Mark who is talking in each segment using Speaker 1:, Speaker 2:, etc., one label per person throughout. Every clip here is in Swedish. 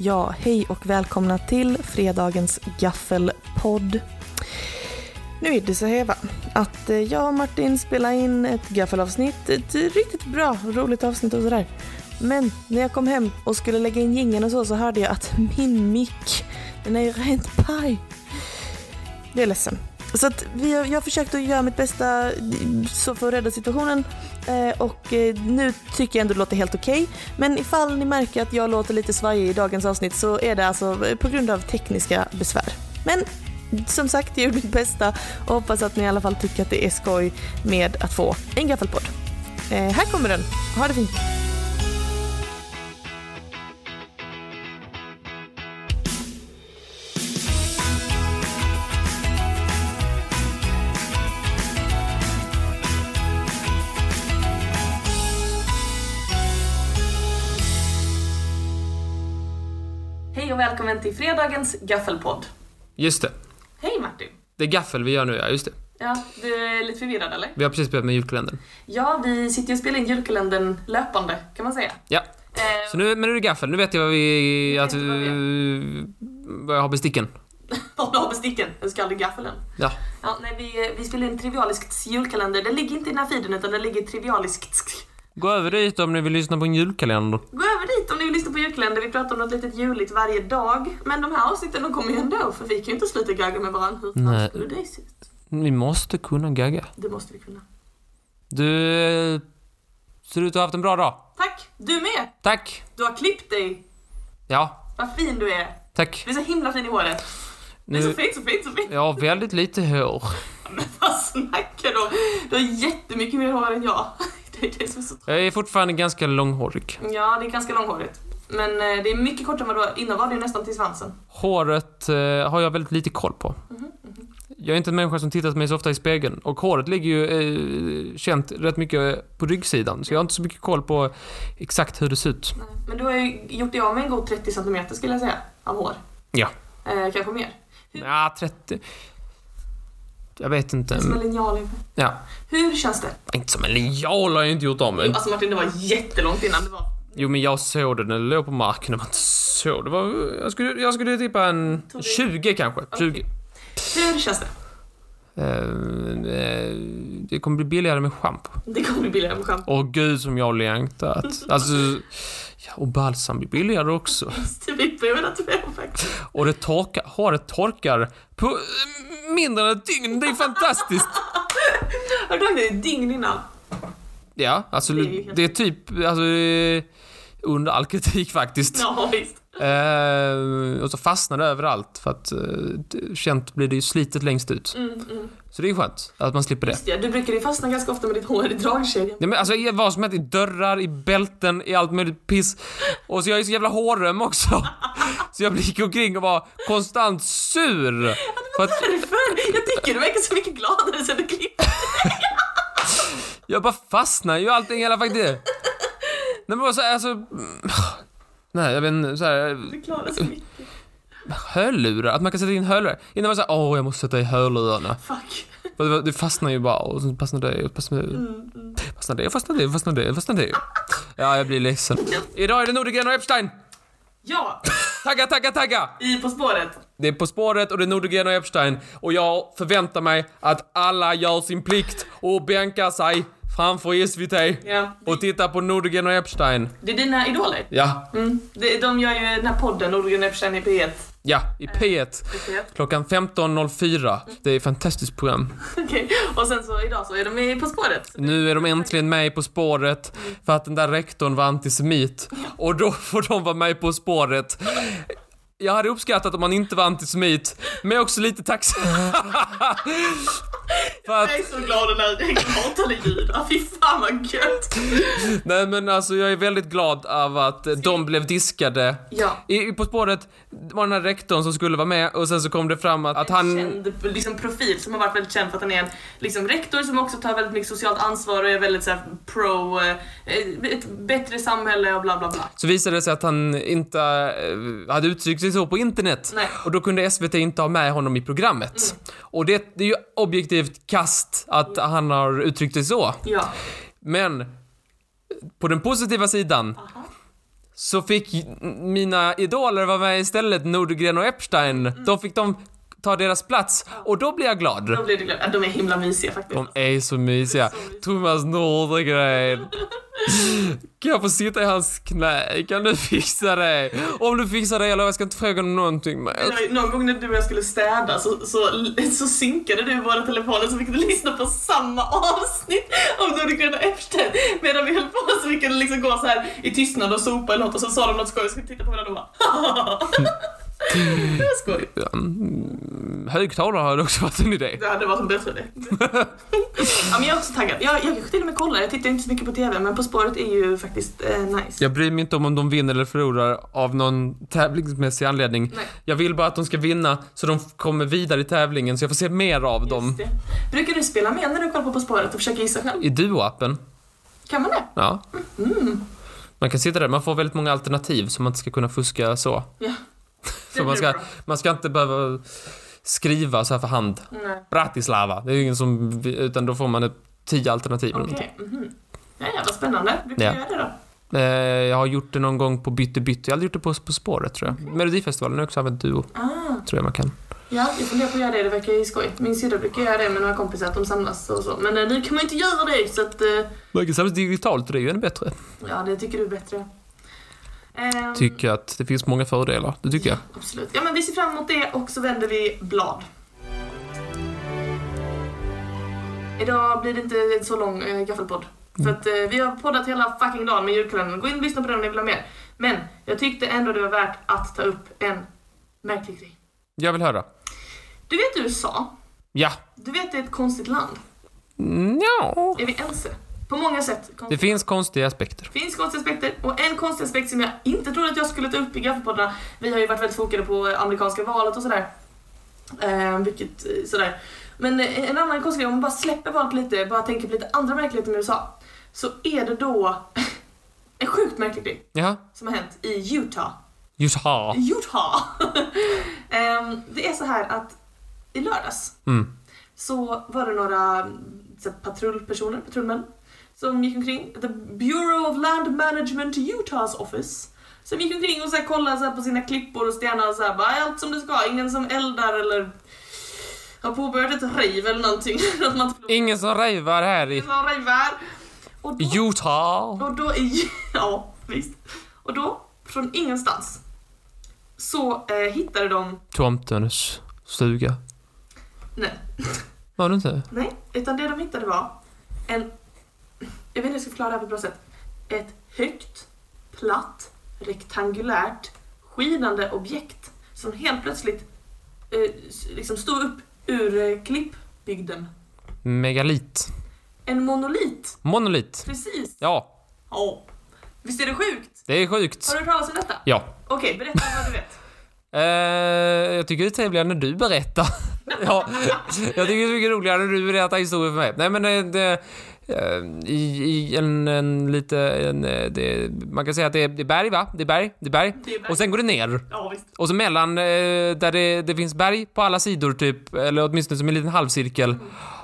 Speaker 1: Ja, hej och välkomna till fredagens gaffelpodd. Nu är det så här va, att eh, jag och Martin spelar in ett gaffelavsnitt, ett riktigt bra, roligt avsnitt och sådär. Men när jag kom hem och skulle lägga in jingeln och så, så hörde jag att min mick, den är ju rent paj. Det är ledsen. Så att vi, har- jag har försökt att göra mitt bästa eh, så för att rädda situationen eh, och eh, nu tycker jag ändå det låter helt okej. Men ifall ni märker att jag låter lite svajig i dagens avsnitt så är det alltså på grund av tekniska besvär. Men som sagt, jag gjorde mitt bästa och hoppas att ni i alla fall tycker att det är skoj med att få en gaffelpodd. Eh, här kommer den. Ha det fint. Hej och välkommen till fredagens gaffelpodd.
Speaker 2: Just det.
Speaker 1: Hej Martin.
Speaker 2: Det är gaffel vi gör nu, ja. Just det.
Speaker 1: Ja, du är lite förvirrad eller?
Speaker 2: Vi har precis börjat med julkalendern.
Speaker 1: Ja, vi sitter ju och spelar in julkalendern löpande kan man säga.
Speaker 2: Ja.
Speaker 1: Eh,
Speaker 2: Så nu, men nu är det gaffel. Nu vet jag vad vi...
Speaker 1: Nu vet
Speaker 2: Att
Speaker 1: jag vad vi
Speaker 2: vi vad jag har besticken.
Speaker 1: Om du har besticken, den ska aldrig gaffeln.
Speaker 2: Ja.
Speaker 1: Ja, nej, vi, vi spelar in Trivialisks julkalender. Den ligger inte i den här feeden utan den ligger i Trivialisks.
Speaker 2: Gå över dit om ni vill lyssna på en julkalender.
Speaker 1: Gå över dit om ni vill lyssna på julkalender. Vi pratar om något litet juligt varje dag. Men de här avsnitten de kommer ju ändå för vi kan ju inte sluta gagga med varandra. Hur fan
Speaker 2: Nej.
Speaker 1: skulle det se ut?
Speaker 2: Vi måste kunna gagga.
Speaker 1: Det måste vi kunna.
Speaker 2: Du... eh, Ser ut att ha haft en bra dag.
Speaker 1: Tack! Du med!
Speaker 2: Tack!
Speaker 1: Du har klippt dig!
Speaker 2: Ja,
Speaker 1: Vad fin du är!
Speaker 2: tack.
Speaker 1: Du är så himla fin i håret. Du är så
Speaker 2: Nu...
Speaker 1: fin, så fin, så fin!
Speaker 2: Jag har väldigt lite hår.
Speaker 1: Men vad snackar du om? Du har jättemycket mer hår än jag. Det är det som är så
Speaker 2: Jag är fortfarande ganska långhårig.
Speaker 1: Ja, det är ganska långhårigt. Men eh, det är mycket kortare än vad det var. Innan var det ju nästan till svansen.
Speaker 2: Håret eh, har jag väldigt lite koll på.
Speaker 1: Mhm,
Speaker 2: Jag är inte en människa som tittar på mig så ofta i spegeln och håret ligger ju eh, känt rätt mycket på ryggsidan så jag har inte så mycket koll på exakt hur det ser ut.
Speaker 1: Nej, Men du har ju gjort dig av med en god 30 centimeter skulle jag säga, av hår.
Speaker 2: Ja.
Speaker 1: Eh, kanske mer.
Speaker 2: Ja, 30... Jag vet inte.
Speaker 1: Som en linjal. i huvudet.
Speaker 2: Ja.
Speaker 1: Hur känns det?
Speaker 2: Inte som en linjal har jag inte gjort av mig.
Speaker 1: Alltså Martin, det var jättelångt innan det var.
Speaker 2: Jo men jag såg det när det låg på marken. Det var inte så. Det var... Jag skulle, jag skulle tippa en
Speaker 1: Tog du-
Speaker 2: 20 kanske. 20.
Speaker 1: Hur känns det?
Speaker 2: Eh, eh, det kommer bli billigare med schampo.
Speaker 1: Det kommer bli billigare med skämt.
Speaker 2: Åh gud som jag har längtat. Alltså, ja, och balsam blir billigare också.
Speaker 1: Det vippar ju mellan två faktiskt.
Speaker 2: Och det torkar, håret torkar på eh, mindre än ett dygn. Det är fantastiskt.
Speaker 1: Har du tagit det ett dygn innan?
Speaker 2: Ja, alltså
Speaker 1: Det är ju helt-
Speaker 2: det är typ, alltså det är under all kritik faktiskt.
Speaker 1: Ja, visst.
Speaker 2: Eh, och så fastnar det överallt för att eh, det- känt blir det ju slitet längst ut.
Speaker 1: Mm, mm.
Speaker 2: Så det är skönt att man slipper det.
Speaker 1: Just det, du brukar ju fastna ganska ofta med ditt hår i dragkedjan.
Speaker 2: Ja, men alltså i vad som helst, i dörrar, i bälten, i allt möjligt piss. Och så jag är så jävla hårröm också. Så jag gick omkring och var konstant sur. För att
Speaker 1: Därför! Jag tycker du verkar så mycket gladare sen du klippte.
Speaker 2: jag bara fastnar ju allting hela faktiskt. Nej men vad så här, alltså... Nej jag vet inte, så här,
Speaker 1: Du klarar så mycket.
Speaker 2: hörlurar, att man kan sätta in hörlurar. Innan var det såhär, åh jag måste sätta i hörlurarna.
Speaker 1: Fuck.
Speaker 2: För det var- Det fastnar ju bara och så fastnar det, och fastnar det,
Speaker 1: Mm, mm.
Speaker 2: fastnar det, fastnar det, fastnar det, fastnar det. Ja, jag blir ledsen. Idag är det Nordegren och Epstein!
Speaker 1: Ja,
Speaker 2: Tagga, tagga, tagga!
Speaker 1: i På spåret.
Speaker 2: Det är På spåret och det är Nordegren och Epstein och jag förväntar mig att alla gör sin plikt och bänkar sig framför SVT
Speaker 1: Ja.
Speaker 2: och tittar på Nordegren och Epstein.
Speaker 1: Det är dina idoler.
Speaker 2: Ja,
Speaker 1: Mm. De, de gör ju den här podden, Nordgren Epstein i P1.
Speaker 2: ja, i P1
Speaker 1: Okej.
Speaker 2: klockan 15.04. Det är ett fantastiskt program.
Speaker 1: Okej. Och sen så idag så är de med På spåret.
Speaker 2: Nu är de äntligen med På spåret för att den där rektorn var antisemit och då får de vara med På spåret. Jag hade uppskattat om han inte var antisemit, men jag är också lite tacksam. för att,
Speaker 1: Jag är så glad den här hatade judar, fy fan vad gött!
Speaker 2: nej men alltså jag är väldigt glad av att eh, de blev diskade.
Speaker 1: Ja.
Speaker 2: I, i på spåret var den här rektorn som skulle vara med och sen så kom det fram att, att han...
Speaker 1: Känd liksom, profil som har varit väldigt känd för att han är en liksom, rektor som också tar väldigt mycket socialt ansvar och är väldigt så här, pro, eh, ett bättre samhälle och bla bla bla.
Speaker 2: Så visade det sig att han inte eh, hade uttryckt sig så på internet.
Speaker 1: Nej. Mm.
Speaker 2: Och då kunde SVT inte ha med honom i programmet. Och det, det är ju objektivt kast att han har uttryckt sig så.
Speaker 1: Ja.
Speaker 2: Men på den positiva sidan
Speaker 1: Aha.
Speaker 2: så fick j- mina idoler vara med istället, Nordgren och Epstein. Då fick de ta deras plats och då blir jag glad.
Speaker 1: Då blir du glad. Ja, Mm. De är himla mysiga faktiskt.
Speaker 2: De är så mysiga. Thomas Nordgren. Kan jag få sitta i hans knä? Kan du fixa det? Om du fixar det, jag lovar, jag ska inte fråga om någonting mer.
Speaker 1: Det var ju Någon gång när du och jag skulle städa så, så, så synkade du våra telefoner så vi kunde lyssna på samma avsnitt av Nordgren och Epstein medan vi höll på så vi kunde liksom gå så här i tystnad och sopa eller något och så sa de något skoj och så skulle vi titta på varandra och bara Det var skoj.
Speaker 2: Ja, mm, Högtalare hade också varit en idé.
Speaker 1: Det hade varit en bättre idé. ja, men jag är också taggad. Jag, jag kanske till och med kollar, jag tittar inte så mycket på TV men På spåret är ju faktiskt eh, nice.
Speaker 2: Jag bryr mig inte om om de vinner eller förlorar av någon tävlingsmässig anledning.
Speaker 1: Nej.
Speaker 2: Jag vill bara att de ska vinna så de f- kommer vidare i tävlingen så jag får se mer av
Speaker 1: Just
Speaker 2: dem.
Speaker 1: det. Brukar du spela med när du kollar på På spåret och försöka gissa själv?
Speaker 2: I Duo-appen.
Speaker 1: Kan man det?
Speaker 2: Ja. Man kan sitta där, man får väldigt många alternativ så man inte ska kunna fuska så.
Speaker 1: Ja.
Speaker 2: Så man
Speaker 1: blir
Speaker 2: ska,
Speaker 1: bra.
Speaker 2: man ska inte behöva skriva så här för hand.
Speaker 1: Nej.
Speaker 2: Bratislava, det är ju ingen som, utan då får man ett tio alternativ. eller någonting.
Speaker 1: Okej. mhm. Ja, ja, vad spännande. Brukar
Speaker 2: Ja.
Speaker 1: du göra det då?
Speaker 2: Eh, jag har gjort det någon gång på Bytte Bytte, jag har aldrig gjort det på På spåret tror jag. Melodifestivalen har också använt Duo,
Speaker 1: Ah,
Speaker 2: tror jag man kan.
Speaker 1: ja, jag funderar på att göra det, det verkar ju skoj. Min syrra brukar göra det med några kompisar, att de samlas och så. Men eh, nu kan man ju inte göra det, så att... eh,
Speaker 2: Man kan samlas digitalt och det är ju ännu bättre.
Speaker 1: Ja, det tycker du är bättre. Ehm,
Speaker 2: Tycker att det finns många fördelar, det tycker jag.
Speaker 1: Absolut. Ja, men vi ser fram emot det och så vänder vi blad. Idag blir det inte en så lång äh, gaffelpodd. För att eh, vi har poddat hela fucking dagen med julkalendern. Gå in och lyssna på den om ni vill ha mer. Men jag tyckte ändå det var värt att ta upp en märklig grej.
Speaker 2: Jag vill höra.
Speaker 1: Du vet USA?
Speaker 2: Ja.
Speaker 1: Du vet det är ett konstigt land.
Speaker 2: No.
Speaker 1: Är vi ense? På många sätt. Konstigt.
Speaker 2: Det finns konstiga aspekter.
Speaker 1: finns konstiga aspekter och en konstig aspekt som jag inte trodde att jag skulle ta upp i Gaffelpoddarna. Vi har ju varit väldigt fokade på eh, amerikanska valet och sådär. Eh, vilket, eh, sådär. Men eh, en annan konstig grej, om man bara släpper valet lite, bara tänker på lite andra märkligheter med USA. Så är det då en sjukt märklig grej
Speaker 2: Ja.
Speaker 1: som har hänt i Utah.
Speaker 2: Just ha.
Speaker 1: Utah! Ehm, det är så här att i lördags
Speaker 2: Mm.
Speaker 1: så var det några mm, så här, patrullpersoner, patrullmän, som gick omkring, the Bureau of Land Management Utahs office, som gick omkring och så här, kollade så här, på sina klippor och stenar och så här, bara, "Är allt som det ska, ingen som eldar eller har påbörjat ett rejv eller någonting. Att man inte
Speaker 2: Ingen som rejvar här i
Speaker 1: får ha rejvär. Och då,
Speaker 2: Utah.
Speaker 1: och då är... Ja, visst. Och då, från ingenstans, så eh, hittade de...
Speaker 2: Tomtens stuga.
Speaker 1: Nej,
Speaker 2: Var det inte?
Speaker 1: nej. Utan det de hittade var en... Jag vet inte hur jag ska förklara det här på ett bra sätt. Ett högt, platt, rektangulärt, skinande objekt som helt plötsligt eh, s- liksom stod upp ur eh, klippbygden.
Speaker 2: Megalit.
Speaker 1: En monolit,
Speaker 2: Monolit.
Speaker 1: precis.
Speaker 2: Ja,
Speaker 1: Ja. Visst är det sjukt?
Speaker 2: det är
Speaker 1: Har
Speaker 2: sjukt.
Speaker 1: du hört talas om detta?
Speaker 2: Ja.
Speaker 1: Okej, berätta vad du vet.
Speaker 2: Eh, jag tycker det är trevligare när du berättar. ja, jag tycker det är mycket roligare när du berättar historier för mig. Nej men eh, det, eh, i, i en, en lite, en, eh, det, man kan säga att det är, det är berg va? Det är berg, det är berg.
Speaker 1: Det är berg.
Speaker 2: Och sen går det ner.
Speaker 1: Ja, visst.
Speaker 2: Och så mellan, eh, där det, det finns berg på alla sidor typ, eller åtminstone som en liten halvcirkel.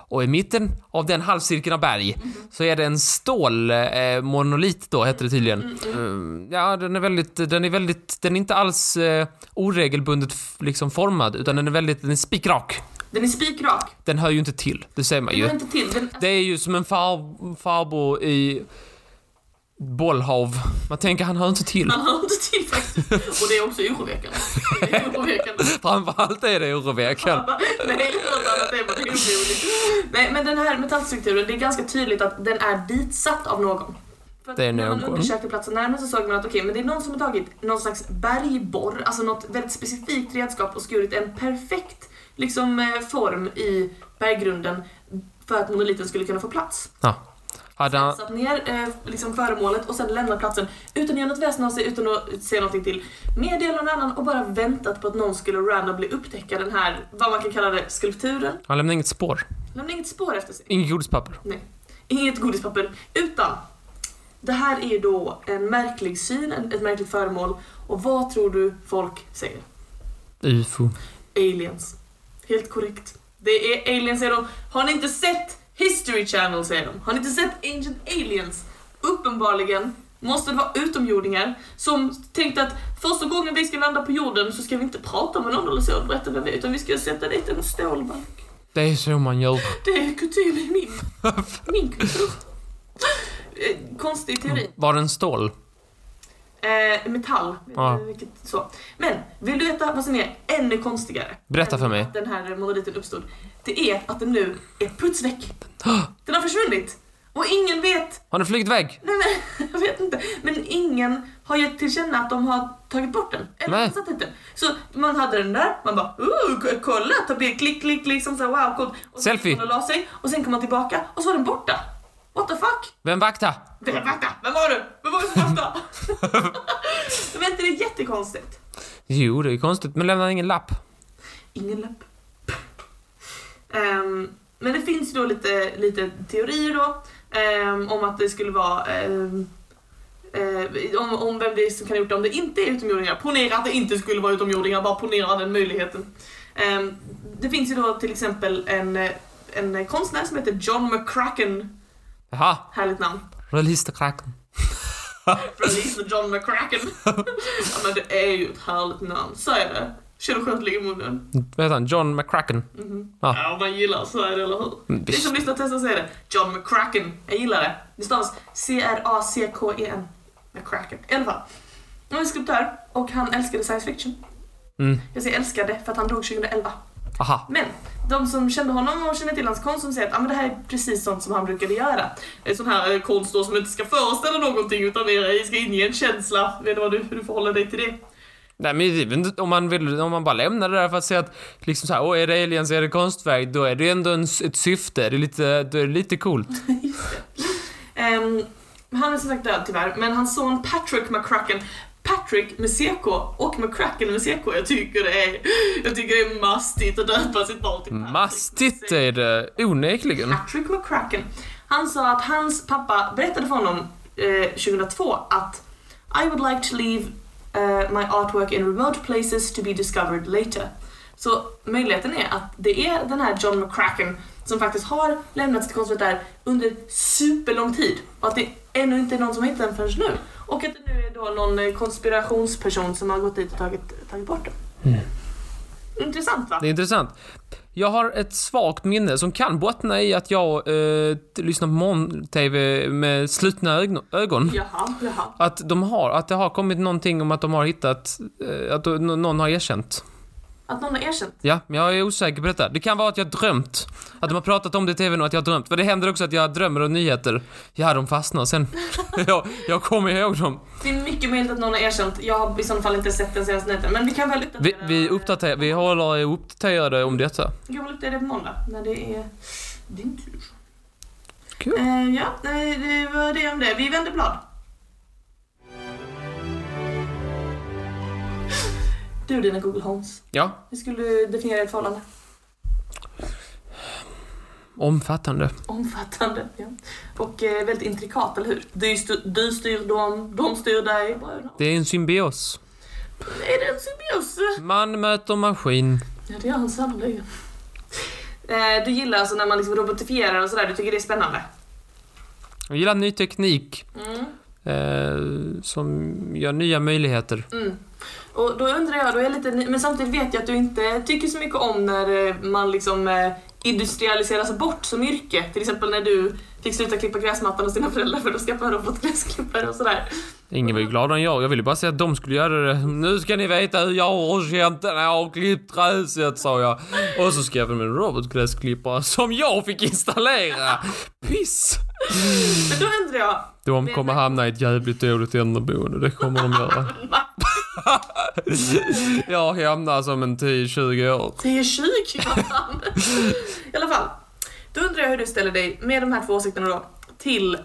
Speaker 2: Och i mitten av den halvcirkeln av berg så är det en stålmonolit eh, monolit då, heter det tydligen. Eh, ja, den är väldigt, den är väldigt, den är inte alls eh, oregelbundet f- liksom formad, utan den är väldigt, den är spikrak.
Speaker 1: Den är spikrak.
Speaker 2: Den hör ju inte till, det ser man
Speaker 1: Den
Speaker 2: ju.
Speaker 1: går inte till. Den,
Speaker 2: Det är ju som en far, farbror i bollhav. Man tänker, han hör inte till.
Speaker 1: Han hör inte till faktiskt. Och det är också oroväckande. Det är oroväckande.
Speaker 2: Framförallt är det oroväckande.
Speaker 1: Nej, något annat är bara det är oroligt. Nej, men den här metallstrukturen, det är ganska tydligt att den är ditsatt av någon. För att
Speaker 2: Det är
Speaker 1: när man
Speaker 2: någon.
Speaker 1: undersökte platsen närmare så såg man att okej, men det är någon som har tagit någon slags bergborr, alltså något väldigt specifikt redskap och skurit en perfekt liksom, eh, form i berggrunden för att monoliten skulle kunna få plats.
Speaker 2: Ja. Hade han,
Speaker 1: satt ner eh, liksom föremålet och sen lämnat platsen utan att göra något väsen av sig, utan att säga någonting till meddelande någon annan och bara väntat på att någon skulle randomly upptäcka den här, vad man kan kalla det, skulpturen.
Speaker 2: han lämnade inget spår.
Speaker 1: Lämna inget spår efter sig.
Speaker 2: Inget godispapper.
Speaker 1: Nej. Inget godispapper. Utan, det här är ju då en märklig syn, en- ett märkligt föremål. Och vad tror du folk säger?
Speaker 2: UFO.
Speaker 1: Aliens. Helt korrekt. Det är aliens säger de. Har ni inte sett History Channel säger de. Har ni inte sett Ancient Aliens? Uppenbarligen måste det vara utomjordingar som tänkte att första gången vi ska landa på jorden så ska vi inte prata med någon eller så och berätta vem vi är, utan vi ska sätta dit en stålbank.
Speaker 2: Det är så man gör.
Speaker 1: Det är kutym i min, min kultur. Eh, Konstig teori.
Speaker 2: Var den stål?
Speaker 1: Eh, metall.
Speaker 2: Ja.
Speaker 1: Eh, Vilket, så. Men, vill du veta vad som är ännu konstigare?
Speaker 2: Berätta för mig.
Speaker 1: Att Den här monoliten uppstod. Det är att den nu är putsväck. Den har försvunnit. Och ingen vet,
Speaker 2: Har den flugit iväg?
Speaker 1: nej men jag vet inte, men ingen har gett till känna att de har tagit bort den. Eller
Speaker 2: Nej.
Speaker 1: satt inte. Så man hade den där, man bara uh, k- kolla, ta bild, klick, klick, liksom såhär wow, coolt. Och sen
Speaker 2: Selfie.
Speaker 1: gick man och la sig, och sen kom man tillbaka, och så var den borta. What the fuck?
Speaker 2: Vem vakta?
Speaker 1: Vem, vänta, vem var du? Vem var du som röstade? Men inte det är jättekonstigt?
Speaker 2: Jo, det är konstigt, men lämnar ingen lapp.
Speaker 1: Ingen lapp. Ehm, men det finns ju då lite, lite teorier då ehm, om att det skulle vara ehm, eh, om, om vem det är som kan ha gjort det om det inte är utomjordingar. Ponera att det inte skulle vara utomjordingar, bara ponera den möjligheten. Ehm, det finns ju då till exempel en, eh, en konstnär som heter John McCracken,
Speaker 2: Jaha,
Speaker 1: härligt namn.
Speaker 2: release the kraken.
Speaker 1: Release the John McCracken. ja, men det är ju ett härligt namn, säg det. Känner du skönt ligga i munnen?
Speaker 2: Vad heter han? John McCracken?
Speaker 1: Mhm.
Speaker 2: Ja.
Speaker 1: Ja, om man gillar så är det, eller hur?
Speaker 2: Mm,
Speaker 1: Ni
Speaker 2: visst.
Speaker 1: som lyssnar testar säger det. John McCracken. Jag gillar det. Det alltså stavas C-R-A-C-K-E-N. E McCracken. I alla fall. Han är skulptör och han älskade science fiction.
Speaker 2: Mm.
Speaker 1: Jag säger älskade för att han dog 2011.
Speaker 2: Aha.
Speaker 1: Men de som kände honom och kände till hans konst som säger att ah, men det här är precis sånt som han brukade göra. Eh, Sån här eh, konst då som inte ska föreställa någonting utan mer ska inge en känsla. Vet du vad du, hur du förhåller dig till det?
Speaker 2: Nej men det är väl inte- om man, vill, om man bara lämnar det där för att säga att liksom såhär, åh är det aliens, är det konstverk, då är det ändå en, s- ett syfte, det är lite, då är det lite coolt.
Speaker 1: Just det. Ehm, han är som sagt död tyvärr, men hans son Patrick McCracken Patrick med CK och McCracken med CK. Jag tycker det är, jag tycker det är mastigt att döpa sitt barn till Patrick.
Speaker 2: Mastigt eh, är det onekligen.
Speaker 1: Patrick McCracken. Han sa att hans pappa berättade för honom eh, 2002 att I would like to leave eh, my artwork in remote places to be discovered later. Så möjligheten är att det är den här John McCracken som faktiskt har lämnat sitt konstverk där under superlång tid och att det ännu inte är någon som har hittat den förrän nu. Och att det nu är då någon eh, konspirationsperson som har gått dit och tagit, tagit bort den. Intressant va?
Speaker 2: Det är intressant. Jag har ett svagt minne som kan bottna i att jag eh, t- lyssnar på morgon-tv med slutna ögno- ögon.
Speaker 1: Jaha, jaha.
Speaker 2: Att de har, att det har kommit någonting om att de har hittat, eh, att n- någon har erkänt.
Speaker 1: Att någon har erkänt
Speaker 2: Ja, men jag är osäker på detta. Det kan vara att jag drömt. Att de har pratat om det i TVn och att jag har drömt. För det händer också att jag drömmer om nyheter. Ja, de fastnar sen. jag, jag kommer ihåg dem.
Speaker 1: Det är mycket möjligt att någon har erkänt. Jag har i så fall inte sett den senaste nätet, men vi kan väl
Speaker 2: Vi,
Speaker 1: uppdatera,
Speaker 2: vi uppdaterar, vi håller er uppdaterade om detta.
Speaker 1: vi kan väl uppdatera det på måndag när det är din tur.
Speaker 2: Kul.
Speaker 1: Eh, ja, eh, det var det om det. Vi vänder blad. Du dina Google Homes.
Speaker 2: Ja,
Speaker 1: Hur skulle du definiera ett förhållande?
Speaker 2: omfattande.
Speaker 1: Omfattande. Ja. Och eh, väldigt intrikat, eller hur? Du styr, du styr dem, de styr dig. Vad är det?
Speaker 2: Det är en symbios.
Speaker 1: Är det en symbios?
Speaker 2: Man möter maskin.
Speaker 1: Ja, det gör han sannerligen. Eh, Du gillar alltså när man liksom robotifierar och sådär, du tycker det är spännande?
Speaker 2: Jag gillar ny teknik
Speaker 1: Mm.
Speaker 2: eh, som gör nya möjligheter.
Speaker 1: Mm. Och då undrar jag, då är jag lite, ny- men samtidigt vet jag att du inte tycker så mycket om när eh, man liksom eh, industrialiseras bort som yrke. Till exempel när du fick sluta klippa gräsmattan hos dina föräldrar för att skaffa en robotgräsklippare och sådär.
Speaker 2: Ingen var ju gladare än jag. Jag ville bara säga att de skulle göra det. Nu ska ni veta hur jag har känt när jag har klippt gräset, sa jag. Och så skaffade de en robotgräsklippare som jag fick installera. Piss!
Speaker 1: Men då undrar jag,
Speaker 2: De kommer hamna i ett jävligt dåligt äldreboende. Det kommer de göra. Jag hämnas om en 10-20 år.
Speaker 1: 10-20 man. I alla fall, då undrar jag hur du ställer dig med de här två åsikterna då till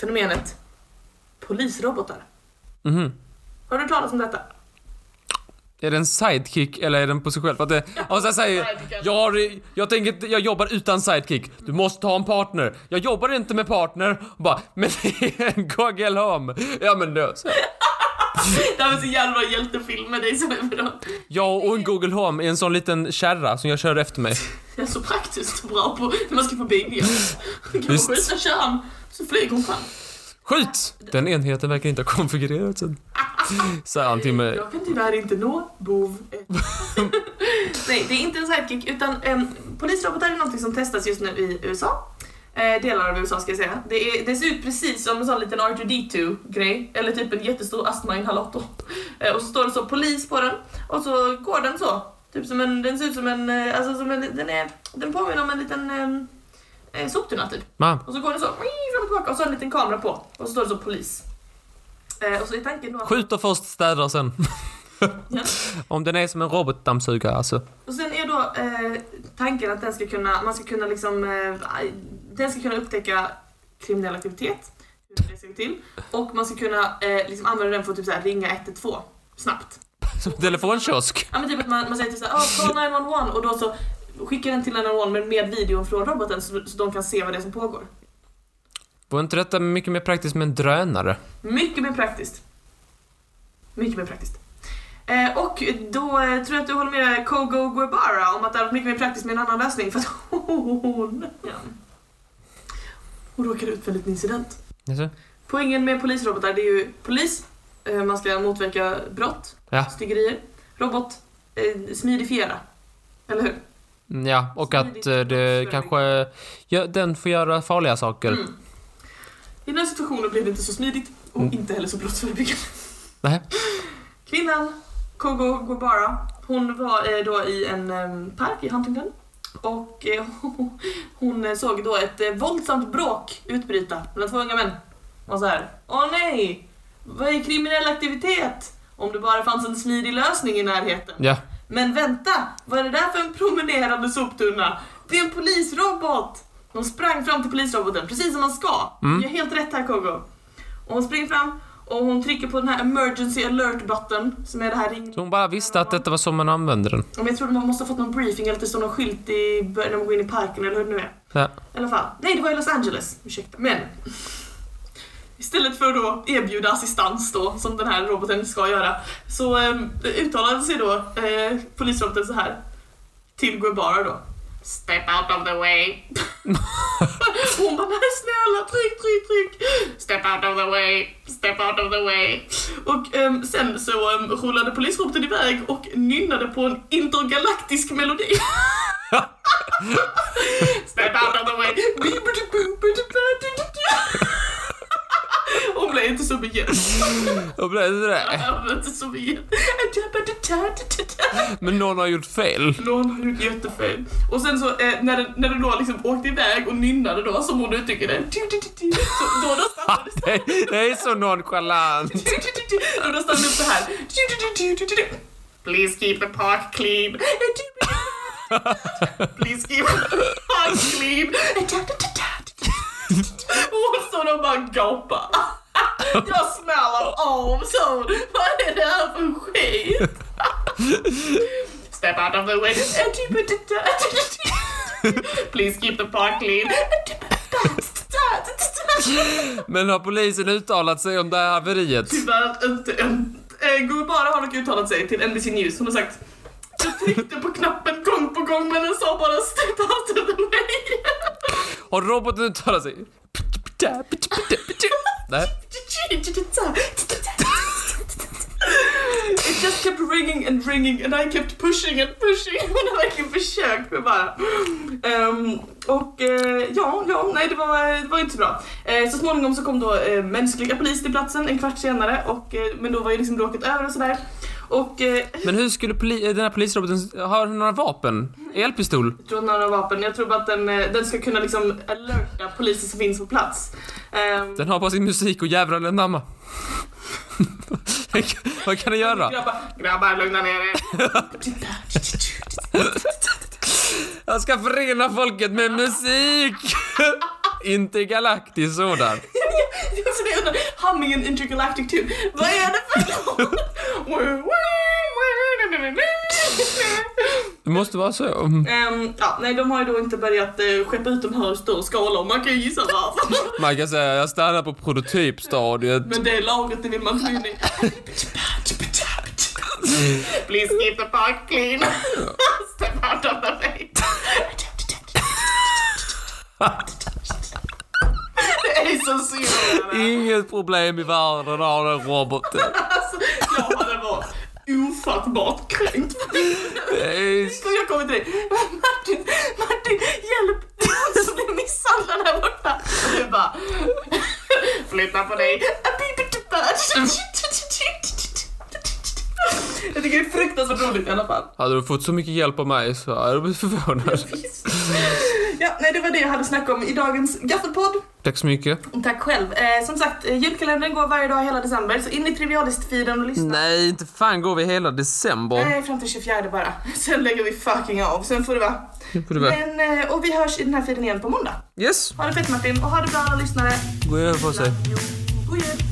Speaker 1: fenomenet polisrobotar.
Speaker 2: Mhm.
Speaker 1: Har du hört talas om detta?
Speaker 2: Är det en sidekick eller är den på sig själv? För att det, och sen säger jag, har- jag tänker inte- jag jobbar utan sidekick. Du måste ha en partner. Jag jobbar inte med partner. Och Bara, men det är en Google Home. Ja men då så.
Speaker 1: Det här var så jävla bra hjältefilm med dig som är bra.
Speaker 2: Jag och en Google Home är en sån liten kärra som jag kör efter mig.
Speaker 1: Det är så praktiskt och bra på när man ska på bio. Kan man
Speaker 2: Visst.
Speaker 1: skjuta kärran så flyger hon fram.
Speaker 2: Skjut! Den enheten verkar inte ha konfigurerats än. Säger han till mig.
Speaker 1: Jag kan tyvärr inte nå bov. Nej, det är inte en sidekick utan um, polisrobotar är något som testas just nu i USA. Eh, delar av USA ska jag säga. Det, är, det ser ut precis som en sån liten R2D2 grej, eller typ en jättestor astmainhalator. Eh, och så står det så polis på den och så går den så. Typ som en, den ser ut som en, eh, alltså som en, den är, den påminner om en liten eh, soptunna typ.
Speaker 2: Man,
Speaker 1: Och så går den så, wii, fram och tillbaka och så har den en liten kamera på. Och så står det så polis. Eh, och så är tanken då att...
Speaker 2: skjuter först, städar sen.
Speaker 1: Ja.
Speaker 2: Om den är som en robotdammsugare alltså.
Speaker 1: Och sen är då eh, tanken att den ska kunna, man ska kunna liksom, eh, aj, den ska kunna upptäcka kriminell aktivitet, hur det ska gå till, och man ska kunna eh, liksom använda den för att typ så här, ringa 112 snabbt.
Speaker 2: Som en telefonkiosk.
Speaker 1: Ja men typ att man, man säger typ såhär oh, call 911 och då så skickar den till 911 med, med videon från roboten så, så de kan se vad det är som pågår.
Speaker 2: Vore inte detta mycket mer praktiskt med en drönare?
Speaker 1: Mycket mer praktiskt. Mycket mer praktiskt. Eh, och då eh, tror jag att du håller med Kogo Guevara om att det hade varit mycket mer praktiskt med en annan lösning för att hon... Ja. Hon råkade ut för en liten incident.
Speaker 2: Jaså?
Speaker 1: Poängen med polisrobotar det är ju polis, eh, man ska motverka brott,
Speaker 2: Ja.
Speaker 1: styggerier, robot, eh, smidifiera. Eller hur?
Speaker 2: Mm, Ja, och att
Speaker 1: Smidigt.
Speaker 2: eh, det
Speaker 1: Absolut.
Speaker 2: kanske... Ja, den får göra farliga saker.
Speaker 1: Mm. I den här situationen blev det inte så smidigt och
Speaker 2: Mm.
Speaker 1: inte heller så brottsförebyggande.
Speaker 2: Nej.
Speaker 1: Kvinnan, Kogo Gobara, hon var eh, då i en eh, park i Huntington och eh, hon eh, såg då ett eh, våldsamt bråk utbryta mellan två unga män. Och så här, åh nej, vad är kriminell aktivitet? Om det bara fanns en smidig lösning i närheten.
Speaker 2: Ja.
Speaker 1: Men vänta, vad är det där för en promenerande soptunna? Det är en polisrobot! Hon sprang fram till polisroboten, precis som man ska.
Speaker 2: Mm.
Speaker 1: Du gör helt rätt här Kogo. Och hon springer fram och hon trycker på den här emergency alert button som är det här ring...
Speaker 2: Så hon bara visste att detta var så man använde den.
Speaker 1: Men jag tror man måste ha fått någon briefing eller att det står någon skylt i, bör- när man går in i parken eller hur det nu är.
Speaker 2: Ja.
Speaker 1: I alla fall. Nej, det var i Los Angeles. Ursäkta. Men. Istället för att då erbjuda assistans då, som den här roboten ska göra, så eh, uttalade sig då eh, polisroboten så här till Guevara då. Step out of the way. Hon bara, nej snälla, tryck, tryck, tryck. Step out of the way, step out of the way. Och ehm, sen så um, rullade polisroboten iväg och nynnade på en intergalaktisk melodi. Step out of the way. Hon blev inte så begärd.
Speaker 2: Och blev det det?
Speaker 1: Hon blev inte så begärd.
Speaker 2: Men någon har gjort fel.
Speaker 1: Någon har gjort jättefel. Och sen så eh, när, den, när den då liksom åkte iväg och nynnade då, som hon uttrycker det, så då, då stannade det.
Speaker 2: Det, det är så nonchalant.
Speaker 1: Då röstar han upp så här. Please keep the park clean. Please keep the park clean. Och så de bara gapar. Jag smäller av så. Vad är det här för skit? Step out of the way. Please keep the park clean.
Speaker 2: Men har polisen uttalat sig om det här haveriet?
Speaker 1: Tyvärr inte en... Eh, Gubara har dock uttalat sig till NBC News. Hon har sagt jag tryckte på knappen gång på gång men den sa bara step out of the way.
Speaker 2: Har roboten uttalat sig? Nej.
Speaker 1: It just kept ringing and ringing and I kept pushing and pushing. Hon har verkligen försökt men bara... Ehm, och eh, ja, ja, nej det var, det var inte så bra. Eh, så småningom så kom då eh, mänskliga polis till platsen en kvart senare och, eh, men då var ju liksom bråket över och sådär. Och eh,
Speaker 2: Men hur skulle poli- den här polisroboten... Har den några vapen? Elpistol?
Speaker 1: Jag tror att den har några vapen. Jag tror bara att den, eh, den ska kunna liksom alerta polisen som finns på plats. Ehm,
Speaker 2: Den har bara sin musik och jävlar anamma. Vad kan den göra?
Speaker 1: Grabbar, grabbar lugna ner er.
Speaker 2: Jag ska förena folket med musik! Inte galaktisk sådan.
Speaker 1: Så det är under Hummingen Intergalactic 2. Vad är det för låt?
Speaker 2: Det måste vara så.
Speaker 1: Ehm, ja, nej, de har ju då inte börjat eh, skeppa ut de här i större skala om man kan ju gissa varför.
Speaker 2: Man kan säga jag stannar på prototypstadiet.
Speaker 1: Men det lagret det vill man gå in i. Please keep the park clean. Step out of the way. Det är så synd.
Speaker 2: Inget problem i världen har den roboten.
Speaker 1: Alltså, jag hade varit ofattbart kränkt.
Speaker 2: Det är
Speaker 1: Skulle jag kommit till dig. Martin, Martin, hjälp! Det är någon som blir misshandlad här borta. Och du bara... Flytta på dig. A beep it to bird. Jag tycker det är fruktansvärt roligt i alla fall.
Speaker 2: Hade du fått så mycket hjälp av mig så hade du blivit förvånad.
Speaker 1: Ja, nej det var det jag hade snackat om i dagens gaffelpodd.
Speaker 2: Tack så mycket.
Speaker 1: Tack själv. Eh, som sagt, eh, julkalendern går varje dag hela december, så in i Trivialist-feeden och lyssna.
Speaker 2: Nej, inte fan går vi hela december.
Speaker 1: Nej, fram till 24 bara. Sen lägger vi fucking av, sen får det vara.
Speaker 2: Det får det vara.
Speaker 1: Men, eh, och vi hörs i den här feeden igen på måndag.
Speaker 2: Yes,
Speaker 1: Ha det fett Martin, och ha det bra alla lyssnare.
Speaker 2: gå över på sig.
Speaker 1: Love you. God jul.